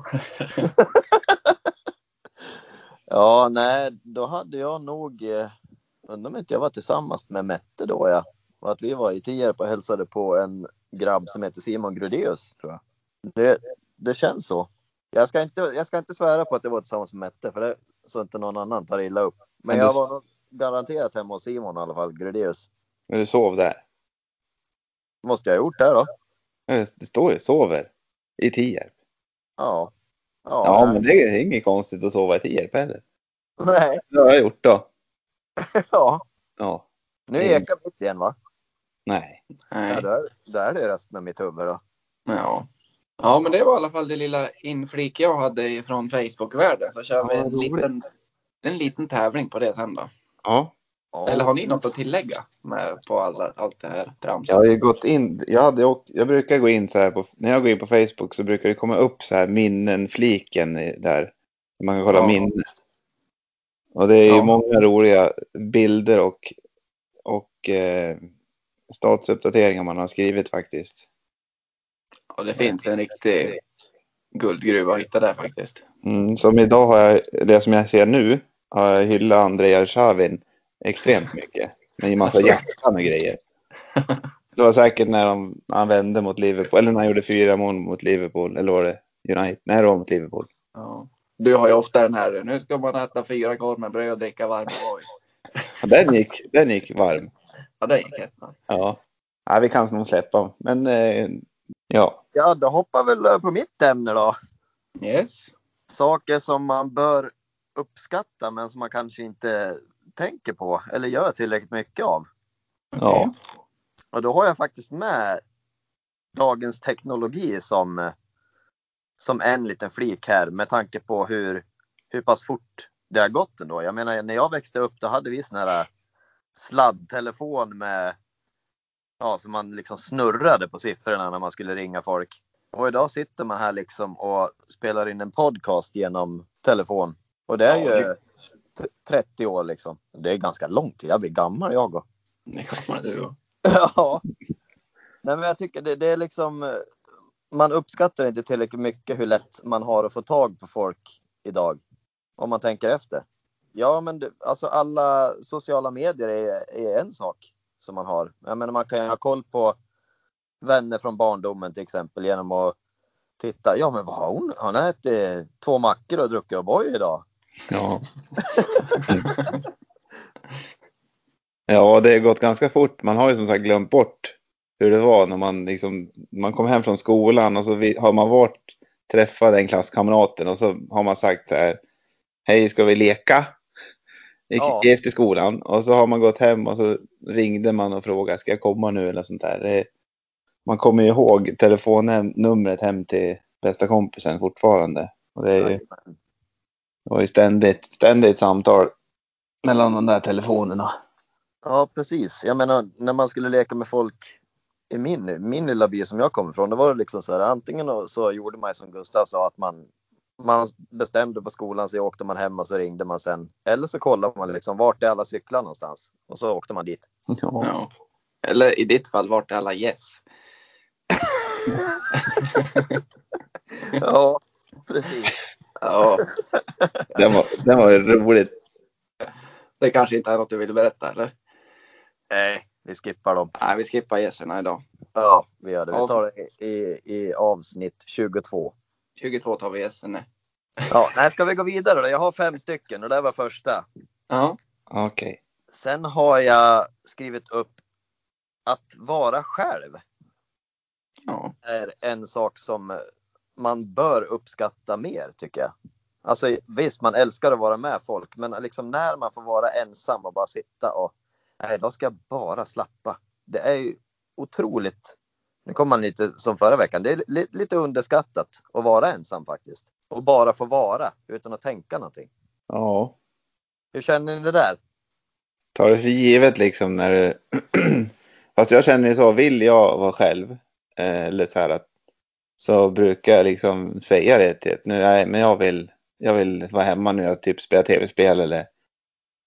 Speaker 1: Ja, nej, då hade jag nog... eh, Undrar om inte jag var tillsammans med Mette då, ja. Och att vi var i Tierp och hälsade på en grabb som heter Simon Grudeus, tror jag. Det, det känns så. Jag ska, inte, jag ska inte svära på att det var tillsammans med Mette, för det, så inte någon annan tar illa upp. Men
Speaker 2: Men du-
Speaker 1: jag var nog garanterat hemma hos Simon i alla fall, Grudeus.
Speaker 2: Men du sov där?
Speaker 1: Måste jag ha gjort det då?
Speaker 2: Ja, Det det står ju sover i Tierp.
Speaker 1: Ja.
Speaker 2: Ja,
Speaker 1: nej.
Speaker 2: men det är inget konstigt att sova i Tierp heller.
Speaker 1: [LAUGHS] Nej,
Speaker 2: Det har jag gjort då.
Speaker 1: ja.
Speaker 2: Ja.
Speaker 1: Nu
Speaker 2: Mm.
Speaker 1: ekar mitt igen, va?
Speaker 2: Nej.
Speaker 1: Ja,
Speaker 3: Nej.
Speaker 1: där, där är resten av mitt huvud då.
Speaker 3: Ja. ja, men det var i alla fall det lilla inflik jag hade från Facebook-världen. Så kör vi
Speaker 2: Ja,
Speaker 3: en
Speaker 2: roligt.
Speaker 3: liten, en liten tävling på det sen då.
Speaker 2: Ja.
Speaker 1: Ja.
Speaker 3: Eller har ni något att tillägga med, på alla, allt det här
Speaker 2: Jag
Speaker 3: tramset?
Speaker 2: har ju gått in... Jag, hade åkt, jag brukar gå in så här på... När jag går in på Facebook så brukar det komma upp så här minnen-fliken i- där. Man kan kolla
Speaker 3: Ja.
Speaker 2: minnen. Och det är ju
Speaker 3: Ja.
Speaker 2: många roliga bilder och, och eh, statusuppdateringar man har skrivit faktiskt.
Speaker 3: Ja, det finns en riktig guldgruva att hitta där faktiskt.
Speaker 2: Mm, som idag har jag, det som jag ser nu, har jag hyllat Andrei Chavin extremt mycket. Med en massa hjärtan och grejer. Det var säkert när de, när han vände mot Liverpool, eller när han gjorde fyra mål mot Liverpool, eller var det United? Nej, det var mot Liverpool.
Speaker 3: Ja. Du har ju ofta den här, nu ska man äta fyra korv med bröd och dricka
Speaker 2: [LAUGHS]
Speaker 3: varm O'boy.
Speaker 2: Den gick, den gick varm.
Speaker 3: Ja, det gick hett.
Speaker 2: Ja. Nej, vi kan nog släppa, men eh, ja.
Speaker 1: Ja, då hoppar väl över på mitt ämne då.
Speaker 3: Yes.
Speaker 1: Saker som man bör uppskatta men som man kanske inte tänker på eller gör tillräckligt mycket av.
Speaker 2: Ja.
Speaker 1: Och då har jag faktiskt med dagens teknologi som, eh, som en liten flik här med tanke på hur, hur pass fort det har gått ändå. Jag äh, menar, när jag växte upp då hade vi sån här sladdtelefon med Ja, så man liksom snurrade på siffrorna när man skulle ringa folk. Och idag sitter man här liksom och spelar in en podcast genom telefon. Och det är
Speaker 3: Ja,
Speaker 1: ju t- 30 år liksom. Det är ganska långt. Jag blir gammal jag och.
Speaker 3: Det kommer du och-
Speaker 1: [LAUGHS] Ja. Nej, men jag tycker det, det är liksom... eh, Man uppskattar inte tillräckligt mycket hur lätt man har att få tag på folk idag. Om man tänker efter. Ja, men du, alltså alla sociala medier är, är en sak som man har. Jag menar, man kan ju ha koll på vänner från barndomen till exempel genom att titta. Ja, men vad har hon? Hon har ätit eh, två mackor och druckit O'boy idag.
Speaker 2: Ja. [LAUGHS] ja, det har gått ganska fort. Man har ju som sagt glömt bort hur det var när man, liksom, man kom hem från skolan och så vi, har man varit träffat den klasskamraten och så har man sagt så här. Hej, ska vi leka? Gick
Speaker 1: Ja.
Speaker 2: efter skolan och så har man gått hem och så ringde man och frågade ska jag komma nu eller sånt där. Det, man kommer ju ihåg telefonnumret hem till bästa kompisen fortfarande. Och det är ju, det var ju ständigt, ständigt samtal mellan de där telefonerna.
Speaker 1: Ja, precis. Jag menar, när man skulle leka med folk i min, min lilla by som jag kommer ifrån, då var det liksom så här, antingen så gjorde man som Gustav sa, att man, man bestämde på skolan, så åkte man hem och så ringde man sen. Eller så kollade man liksom, vart är alla cyklar någonstans? Och så åkte man dit.
Speaker 2: Ja.
Speaker 3: Ja. Eller i ditt fall, vart är alla gäss?
Speaker 1: [LAUGHS] Ja, precis.
Speaker 3: Ja,
Speaker 2: Den var, den var ju roligt.
Speaker 3: det kanske inte är något du vill berätta eller?
Speaker 1: Nej, vi skippar dem.
Speaker 3: Nej, vi skippar gässerna idag.
Speaker 1: Ja, vi gör det. Vi tar det i, i, i avsnitt 22.
Speaker 3: 22 tar vi gässerna.
Speaker 1: Ja, nej, ska vi gå vidare då? Jag har fem stycken och det här var första.
Speaker 3: Ja.
Speaker 2: Okej.
Speaker 1: Sen har jag skrivit upp att vara själv
Speaker 3: ja.
Speaker 1: är en sak som man bör uppskatta mer tycker jag. Alltså visst, man älskar att vara med folk, men liksom när man får vara ensam och bara sitta och nej, då ska jag bara slappa. Det är ju otroligt. Nu kommer man lite som förra veckan. Det är li- lite underskattat att vara ensam faktiskt och bara få vara utan att tänka någonting.
Speaker 2: Ja.
Speaker 1: Hur känner ni det där?
Speaker 2: Tar det för givet liksom när du... [CLEARS THROAT] Fast jag känner ju så, vill jag vara själv, eh, eller så här att, så brukar jag liksom säga det till ett, nu, nej, men jag vill, jag vill vara hemma nu, jag typ spelar tv-spel eller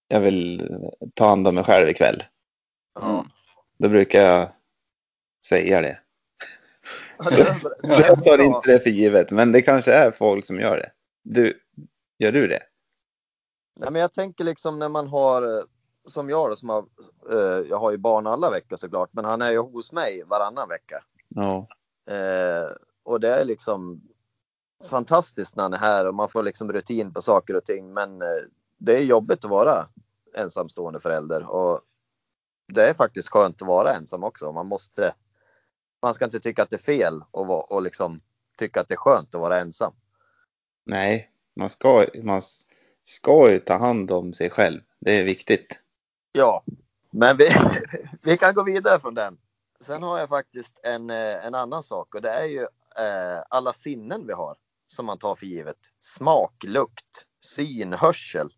Speaker 2: jag vill ta hand om mig själv ikväll.
Speaker 3: Mm.
Speaker 2: Då brukar jag säga det.
Speaker 1: Ja, det är bra.
Speaker 2: Så jag tar
Speaker 1: Ja.
Speaker 2: inte det för givet, men det kanske är folk som gör det. Du, gör du det?
Speaker 1: Nej, men jag tänker liksom när man har, eh, som jag då, som har, eh, jag har ju barn alla veckor såklart, men han är ju hos mig varannan vecka.
Speaker 2: Ja.
Speaker 1: Eh, och det är liksom fantastiskt när han är här och man får liksom rutin på saker och ting. Men eh, det är jobbigt att vara ensamstående förälder och det är faktiskt skönt att vara ensam också. Man måste, man ska inte tycka att det är fel och, vara- och liksom tycka att det är skönt att vara ensam.
Speaker 2: Nej, man ska, man ska ju ta hand om sig själv. Det är viktigt.
Speaker 1: Ja, men vi, [LAUGHS] vi kan gå vidare från den. Sen har jag faktiskt en, eh, en annan sak och det är ju eh, alla sinnen vi har som man tar för givet. Smak, lukt, syn, hörsel.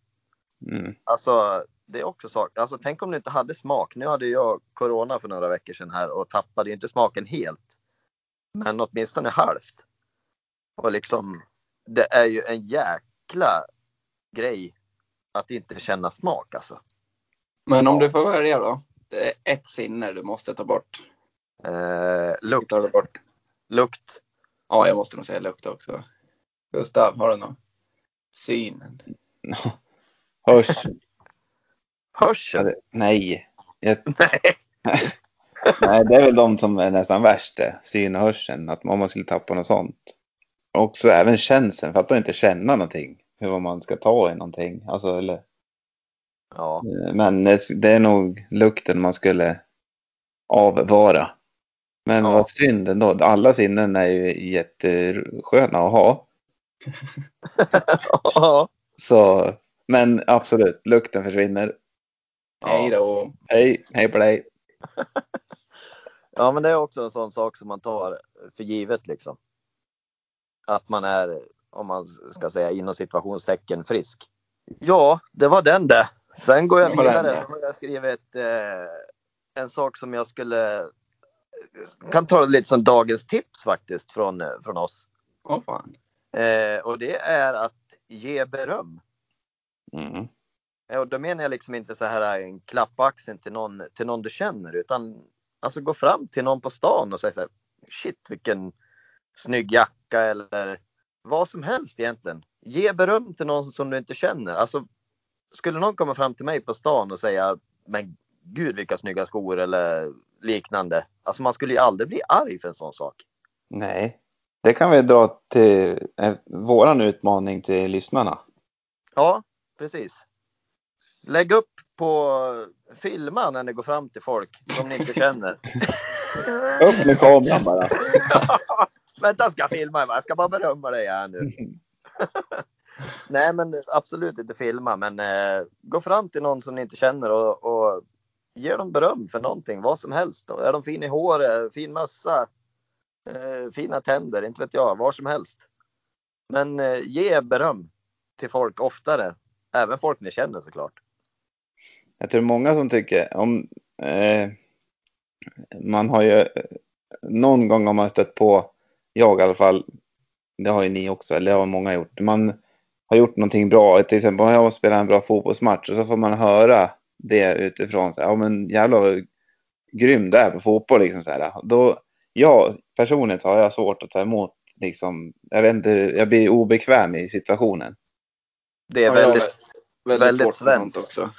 Speaker 2: Mm.
Speaker 1: Alltså, det är också saker. Alltså, tänk om du inte hade smak. Nu hade jag corona för några veckor sedan här och tappade ju inte smaken helt. Men åtminstone halvt. Och liksom, det är ju en jäkla grej att inte känna smak alltså.
Speaker 3: Men om du får välja då? Det är ett sinne du måste ta bort.
Speaker 1: Eh,
Speaker 3: Vilket
Speaker 1: lukt,
Speaker 3: tar du bort?
Speaker 1: lukt.
Speaker 3: Ja, jag måste nog säga lukt också. Gustav, har du något? Synen.
Speaker 2: Hörs? Ja,
Speaker 1: Hörsel?
Speaker 2: det- [LAUGHS] Nej. Jag... Nej, det är väl de som är nästan värst det. Syn och hörseln. Att om man skulle tappa något sånt. Och så även känseln. För att då inte känna någonting. Hur man ska ta i någonting. Alltså, eller...
Speaker 1: Ja.
Speaker 2: Men det, det är nog lukten man skulle avvara. Men
Speaker 1: Ja.
Speaker 2: vad synd ändå. Alla sinnen är ju jättesköna att ha.
Speaker 1: ja.
Speaker 2: Så, men absolut, lukten försvinner.
Speaker 3: Hej då.
Speaker 2: Hej, hej på dig.
Speaker 1: Ja, men det är också en sån sak som man tar för givet liksom. Att man är, om man ska säga inom situationstecken frisk. Ja, det var den det. Sen går jag
Speaker 3: Det var den
Speaker 1: vidare
Speaker 3: det.
Speaker 1: och har jag skrivit eh, en sak som jag skulle kan ta det lite som dagens tips faktiskt från, eh, från oss.
Speaker 3: Åh fan.
Speaker 1: Eh, och det är att ge beröm.
Speaker 2: Mm.
Speaker 1: Eh, Och då menar jag liksom inte så här eh, en klapp på axeln till någon, till någon du känner utan alltså gå fram till någon på stan och säga så här, shit vilken snygg jacka eller vad som helst egentligen. Ge beröm till någon som du inte känner. Alltså, skulle någon komma fram till mig på stan och säga men gud vilka snygga skor eller liknande. Alltså man skulle ju aldrig bli arg för en sån sak.
Speaker 2: Nej. Det kan vi dra till eh, våran utmaning till lyssnarna.
Speaker 1: Ja, precis. Lägg upp på eh, filma när ni går fram till folk som ni inte känner.
Speaker 2: Upp med kameran bara.
Speaker 1: Vänta, jag ska filma. va? Jag ska bara berömma dig här nu.
Speaker 3: Mm.
Speaker 1: [LAUGHS] Nej, men absolut inte filma, men eh, gå fram till någon som ni inte känner och, och ge dem beröm för någonting, vad som helst. Är de fin i håret, fin mössa, eh, fina tänder, inte vet jag, vad som helst. Men eh, ge beröm till folk oftare, även folk ni känner såklart.
Speaker 2: Jag tror många som tycker om... Eh, man har ju... Någon gång har man stött på, jag i alla fall, det har ju ni också, eller det har många gjort. Man har gjort någonting bra, till exempel om jag spelar en bra fotbollsmatch och så får man höra det utifrån. Så här, ja men jävlar vad grym du är på fotboll liksom. Så här. Då, jag personligen så har jag svårt att ta emot liksom, jag vet inte, jag blir obekväm i situationen.
Speaker 1: Det är
Speaker 3: Ja,
Speaker 1: väldigt
Speaker 3: jag har
Speaker 1: väldigt
Speaker 3: svårt för sånt
Speaker 1: svenskt.
Speaker 3: också.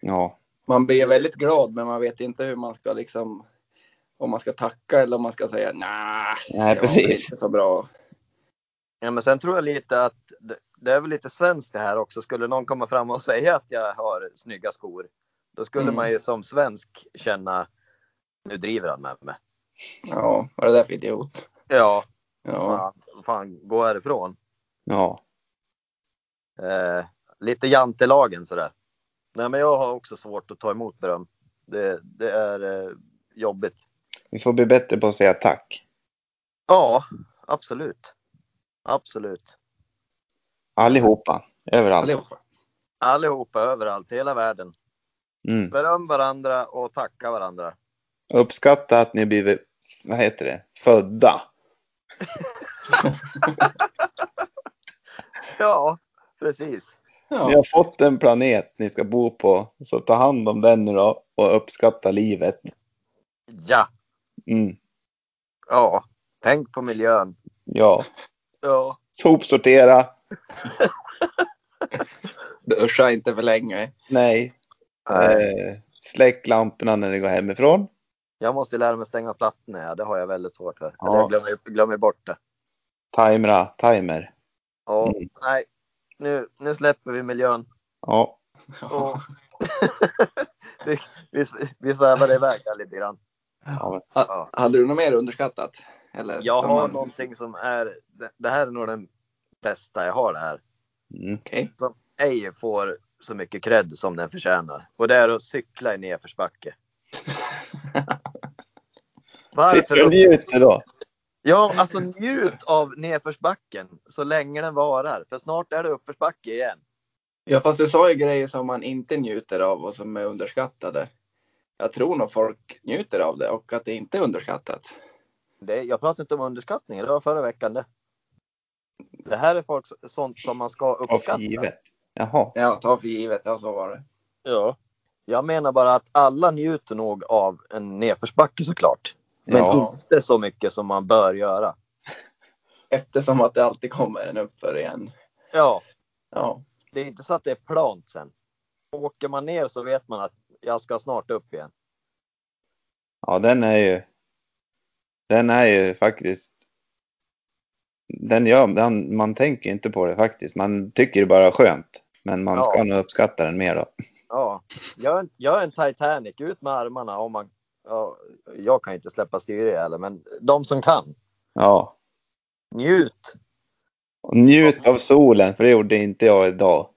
Speaker 2: Ja,
Speaker 3: Man blir väldigt glad men man vet inte hur man ska liksom om man ska tacka eller om man ska säga nej.
Speaker 2: nej precis.
Speaker 3: Inte så bra.
Speaker 1: Ja, men sen tror jag lite att det, det är väl lite svenskt det här också. Skulle någon komma fram och [LAUGHS] säga att jag har snygga skor, då skulle
Speaker 3: Mm.
Speaker 1: man ju som svensk känna nu driver han med mig.
Speaker 3: Ja, vad är det där för idiot?
Speaker 1: Ja,
Speaker 3: Ja,
Speaker 1: fan, fan gå härifrån.
Speaker 2: Ja.
Speaker 1: Eh, lite jantelagen sådär. Nej, men jag har också svårt att ta emot beröm. Det, det är eh, jobbigt.
Speaker 2: Vi får bli bättre på att säga tack.
Speaker 1: Ja, absolut. Absolut.
Speaker 2: Allihopa, överallt.
Speaker 3: allihopa.
Speaker 1: Allihopa överallt, hela världen.
Speaker 2: Mm.
Speaker 1: Beröm varandra och tacka varandra.
Speaker 2: Uppskatta att ni blivit, vad heter det, födda.
Speaker 1: Ja, precis.
Speaker 2: Ni
Speaker 3: Ja,
Speaker 2: har fått en planet ni ska bo på, så ta hand om den nu då och uppskatta livet.
Speaker 1: Ja,
Speaker 2: Mm.
Speaker 1: ja. Tänk på miljön.
Speaker 2: Ja,
Speaker 1: Ja.
Speaker 2: sopsortera.
Speaker 3: duscha inte för länge.
Speaker 2: Nej. Eh, släck lamporna när ni går hemifrån.
Speaker 1: Jag måste lära mig stänga plattorna. Ja. Det har jag väldigt svårt för.
Speaker 2: Ja.
Speaker 1: Eller jag glömmer, glömmer bort det.
Speaker 2: Timera, timer.
Speaker 1: Ja,
Speaker 2: Mm.
Speaker 1: nej. Nu, nu släpper vi miljön.
Speaker 2: Ja,
Speaker 1: Och vi, vi, vi svävar iväg här lite grann. Ja.
Speaker 3: Hade du något mer underskattat? Eller,
Speaker 1: Jag
Speaker 3: som
Speaker 1: har
Speaker 3: man-
Speaker 1: någonting som är... det- Det här är nog den bästa jag har det här.
Speaker 2: mm.
Speaker 3: Okej.
Speaker 1: Ej får så mycket cred som den förtjänar. Och det är att cykla i nedförsbacke. [LAUGHS]
Speaker 2: Sitter och njuter då.
Speaker 1: Ja, alltså njut av nedförsbacken så länge den varar. För snart är det uppförsbacke igen.
Speaker 3: Ja, fast du sa ju grejer som man inte njuter av och som är underskattade. Jag tror nog folk njuter av det och att det inte är underskattat.
Speaker 1: Det, jag pratade inte om underskattning, det var förra veckan det. Det här är folk, sånt som man ska
Speaker 2: Ta för
Speaker 1: uppskatta.
Speaker 2: givet. Jaha.
Speaker 3: Ja, ta för givet. Ja, så var det.
Speaker 1: Ja. Jag menar bara att alla njuter nog av en nedförsbacke såklart. Men
Speaker 2: Ja.
Speaker 1: inte så mycket som man bör göra.
Speaker 3: Eftersom att det alltid kommer en uppför igen.
Speaker 1: Ja,
Speaker 3: Ja,
Speaker 1: det är inte så att det är plant sen. Åker man ner så vet man att jag ska snart upp igen.
Speaker 2: Ja, den är ju... Den är ju faktiskt... Den gör, den, man tänker ju inte på det faktiskt. Man tycker det bara är skönt. Men man
Speaker 1: Ja.
Speaker 2: ska nog uppskatta den mer då.
Speaker 1: Ja, gör en, gör en Titanic, ut med armarna om man... Ja, jag kan ju inte släppa styret heller, men de som kan.
Speaker 2: Ja.
Speaker 1: Njut!
Speaker 2: Och njut av solen, för det gjorde inte jag idag.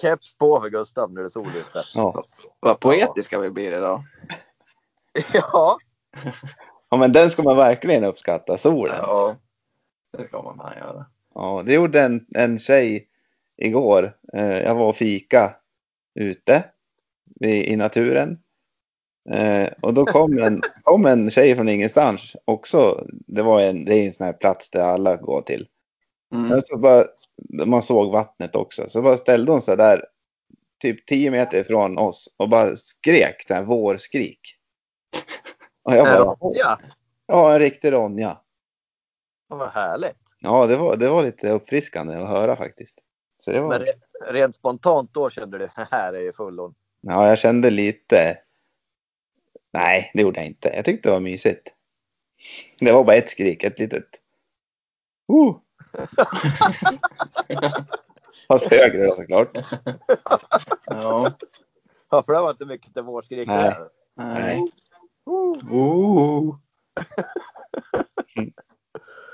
Speaker 1: Keps på för Gustav nu är det sol ute.
Speaker 2: Ja.
Speaker 3: vad poetiska vi blir idag.
Speaker 1: [LAUGHS] Ja,
Speaker 2: ja, men den ska man verkligen uppskatta, solen. Ja,
Speaker 3: Ja, det ska man fan göra.
Speaker 2: det gjorde en, en tjej igår. Eh, Jag var och fika ute i, i naturen. Eh, och då kom en, kom en tjej från ingenstans också. Det, var en, det är en sån här plats där alla går till.
Speaker 3: Mm.
Speaker 2: Men så bara, man såg vattnet också. Så bara ställde hon sig där, typ 10 meter ifrån oss och bara skrek, så här vårskrik. Och jag bara,
Speaker 1: Ja,
Speaker 2: ja, en riktig Ronja.
Speaker 1: vad härligt.
Speaker 2: Ja, det var, det var lite uppfriskande att höra faktiskt. Så det var,
Speaker 1: Men re- rent spontant då kände du, här är ju fullon.
Speaker 2: Ja, jag kände lite... Nej, det gjorde jag inte. Jag tyckte det var mysigt. Det var bara ett skrik, ett litet... Uh.
Speaker 1: [LAUGHS]
Speaker 2: Fast högre då såklart.
Speaker 3: Ja.
Speaker 1: Ja, för det var inte mycket till vårskrik
Speaker 2: Nej.
Speaker 1: där.
Speaker 2: Nej.
Speaker 1: Oh,
Speaker 3: Ooh.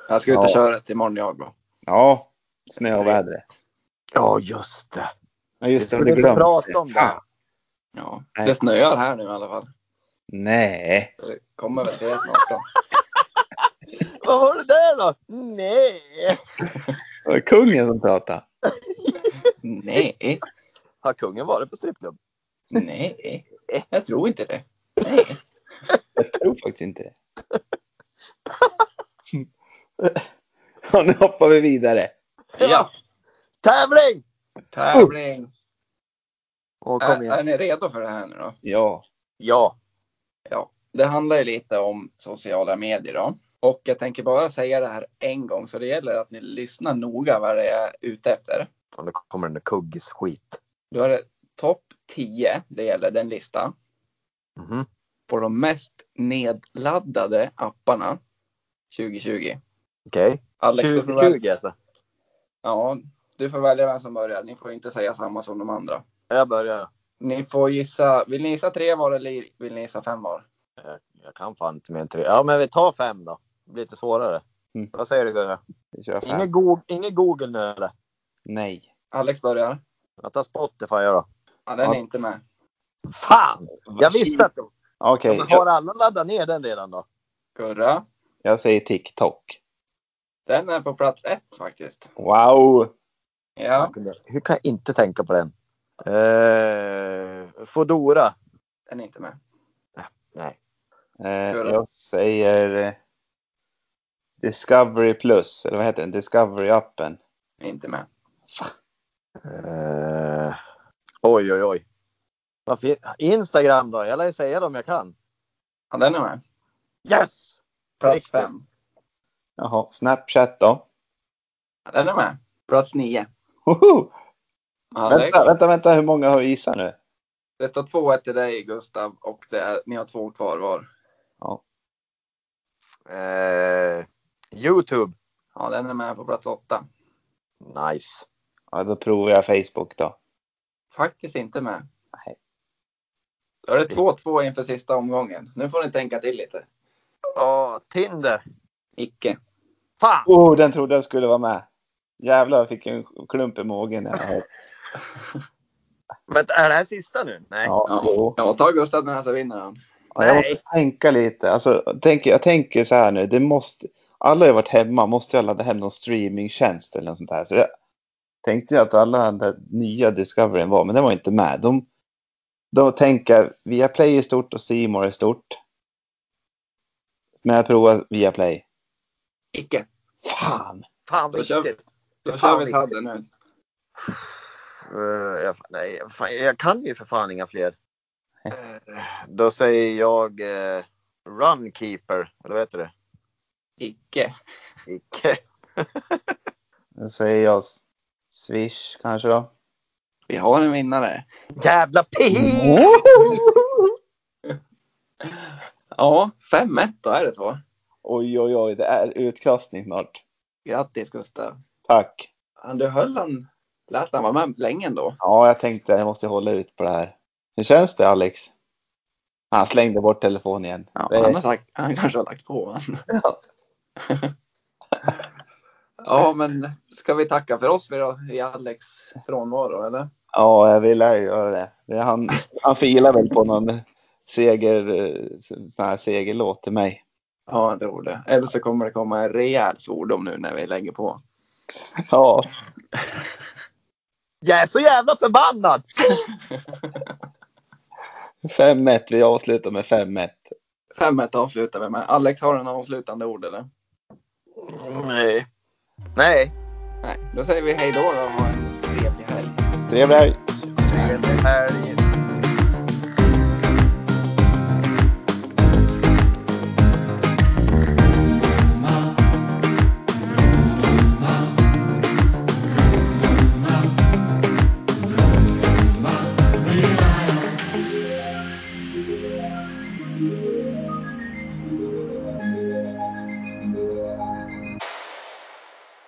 Speaker 3: Jag ska ut och
Speaker 2: Ja.
Speaker 3: köra ett imorgon jag då.
Speaker 2: Ja, snö och vädret.
Speaker 1: Ja, just det.
Speaker 2: Ja, just det.
Speaker 1: Vi skulle
Speaker 2: Jag hade
Speaker 1: inte
Speaker 2: glömt
Speaker 1: prata om det.
Speaker 2: Fan.
Speaker 3: Ja.
Speaker 2: Nej.
Speaker 3: Det snöar här nu i alla fall.
Speaker 2: Nej.
Speaker 3: Det kommer väl det snart då.
Speaker 1: Vad var det där då? Nej!
Speaker 2: Det var kungen som pratade.
Speaker 3: Nej,
Speaker 1: Har kungen varit på strippklubb?
Speaker 3: nej. Jag tror inte det. Nej.
Speaker 2: Jag tror faktiskt
Speaker 1: [LAUGHS]
Speaker 2: inte det. Ja, nu hoppar vi vidare.
Speaker 3: Ja,
Speaker 1: Tävling!
Speaker 3: tävling.
Speaker 1: Åh, kom
Speaker 3: Är,
Speaker 1: igen.
Speaker 3: är ni redo för det här nu då?
Speaker 2: Ja.
Speaker 1: Ja.
Speaker 3: Det handlar ju lite om sociala medier då. Och jag tänker bara säga det här en gång så det gäller att ni lyssnar noga vad det är ute efter.
Speaker 1: Och nu kommer den kugges skit.
Speaker 3: Då är det topp 10, det gäller den lista,
Speaker 1: Mhm.
Speaker 3: på de mest nedladdade apparna 2020.
Speaker 1: Okej.
Speaker 3: Alex, du får väl,
Speaker 1: 2020 alltså.
Speaker 3: ja, du får välja vem som börjar. Ni får inte säga samma som de andra.
Speaker 1: Jag börjar.
Speaker 3: Ni får gissa. Vill ni gissa tre var eller vill ni gissa fem var?
Speaker 1: Jag, jag kan fan inte mer än tre. Ja, men vi tar fem då. Det blir lite svårare.
Speaker 2: Mm.
Speaker 1: Vad säger du Gunnar?
Speaker 2: Vi kör fem.
Speaker 1: Inget Goog- inget Google nu eller?
Speaker 2: Nej.
Speaker 3: Alex börjar.
Speaker 1: Jag tar Spotify då.
Speaker 3: Ja, den är
Speaker 2: Ja.
Speaker 3: inte med.
Speaker 1: Fan! Jag visste att de...
Speaker 2: Okej,
Speaker 1: Men
Speaker 2: jag,
Speaker 1: har alla laddat ner den redan då?
Speaker 3: Gurra.
Speaker 2: jag säger TikTok.
Speaker 3: Den är på plats ett faktiskt.
Speaker 2: Wow!
Speaker 3: Ja,
Speaker 1: Jag kunde- Hur kan jag inte tänka på den? Eh, Foodora.
Speaker 3: den är inte med.
Speaker 1: Nej.
Speaker 2: Eh,
Speaker 3: Kul.
Speaker 2: jag säger eh, Discovery Plus, eller vad heter den? Discovery-appen.
Speaker 3: Inte med.
Speaker 1: Eh, oj, oj, oj. Vad fin- Instagram då? Jag lär ju säga det om jag kan.
Speaker 3: Ja, den är med.
Speaker 1: Yes!
Speaker 3: Plats
Speaker 1: Riktigt.
Speaker 3: fem.
Speaker 2: Jaha, Snapchat då?
Speaker 3: Ja, den är med. Plats nio.
Speaker 2: Woho!
Speaker 3: Alex,
Speaker 2: Vänta, vänta, vänta, hur många har vi gissat nu?
Speaker 3: det står 2-1 till dig Gustav och det är, ni har två kvar var.
Speaker 1: Eh, Youtube.
Speaker 3: Ja, den är med på plats åtta.
Speaker 1: Nice.
Speaker 2: Ja, då provar jag Facebook då.
Speaker 3: Faktiskt inte med.
Speaker 2: Nej.
Speaker 3: Då är det 2-2 inför sista omgången. Nu får ni tänka till lite.
Speaker 1: Ja, Tinder.
Speaker 3: Icke.
Speaker 1: Fan!
Speaker 2: Oh, den trodde jag skulle vara med. Jävlar, jag fick en klump i magen. när jag hörde.
Speaker 1: Vänta, är det här sista nu? Nej.
Speaker 2: Ja, jo.
Speaker 3: Ja, ta Gustav den här så vinner han.
Speaker 2: Ja, jag
Speaker 1: Nej.
Speaker 2: måste tänka lite. Alltså, jag tänker- jag tänker så här nu. Det måste, alla har ju varit hemma. Måste jag ladda hem någon streamingtjänst eller något sånt här? Så jag tänkte jag att alla den där nya Discoveryn var, men den var inte med. De, då tänker jag, Viaplay är stort och C More är stort. Men jag provar Viaplay.
Speaker 3: Icke.
Speaker 2: Fan!
Speaker 1: Fan,
Speaker 3: Då kör vi.
Speaker 1: viktigt.
Speaker 3: Då
Speaker 1: Fan,
Speaker 3: kör vi
Speaker 1: viktigt.
Speaker 3: Tadde nu.
Speaker 1: Eh, jag, nej, fan, jag kan ju för fan inga fler. Eh, Då säger jag eh, Runkeeper, eller vad heter det?
Speaker 3: Icke.
Speaker 1: Icke.
Speaker 2: Då säger jag s- Swish kanske då.
Speaker 3: Vi har en vinnare.
Speaker 1: Jävla pi!
Speaker 3: Ja, 5-1 då är det så.
Speaker 2: Oj, oj, oj. Det är utkastning snart.
Speaker 3: Grattis Gustav.
Speaker 2: Tack!
Speaker 3: Ja, Du höll han, lät han vara med länge ändå.
Speaker 2: Ja, jag tänkte jag måste hålla ut på det här. Hur känns det Alex? Han slängde bort telefonen igen.
Speaker 3: Ja,
Speaker 2: det,
Speaker 3: han, har sagt, han kanske har lagt på. Han. [LAUGHS] ja, men ska vi tacka för oss vi då, i Alex frånvaro eller?
Speaker 2: ja jag vill ju göra det. det han, han filar väl på någon seger, eh, sån här segerlåt till mig.
Speaker 3: Ja, jag tror det. Eller så kommer det komma en rejäl svordom nu när vi lägger på.
Speaker 2: Ja,
Speaker 1: Jag är så jävla förbannad!
Speaker 2: 5-1. Vi avslutar med 5-1.
Speaker 3: 5-1 avslutar vi med. Alex, har du några avslutande ord eller?
Speaker 1: Nej. Nej.
Speaker 3: Nej, då säger vi hej då och ha en trevlig helg.
Speaker 2: Trevlig helg!
Speaker 1: Trevlig helg.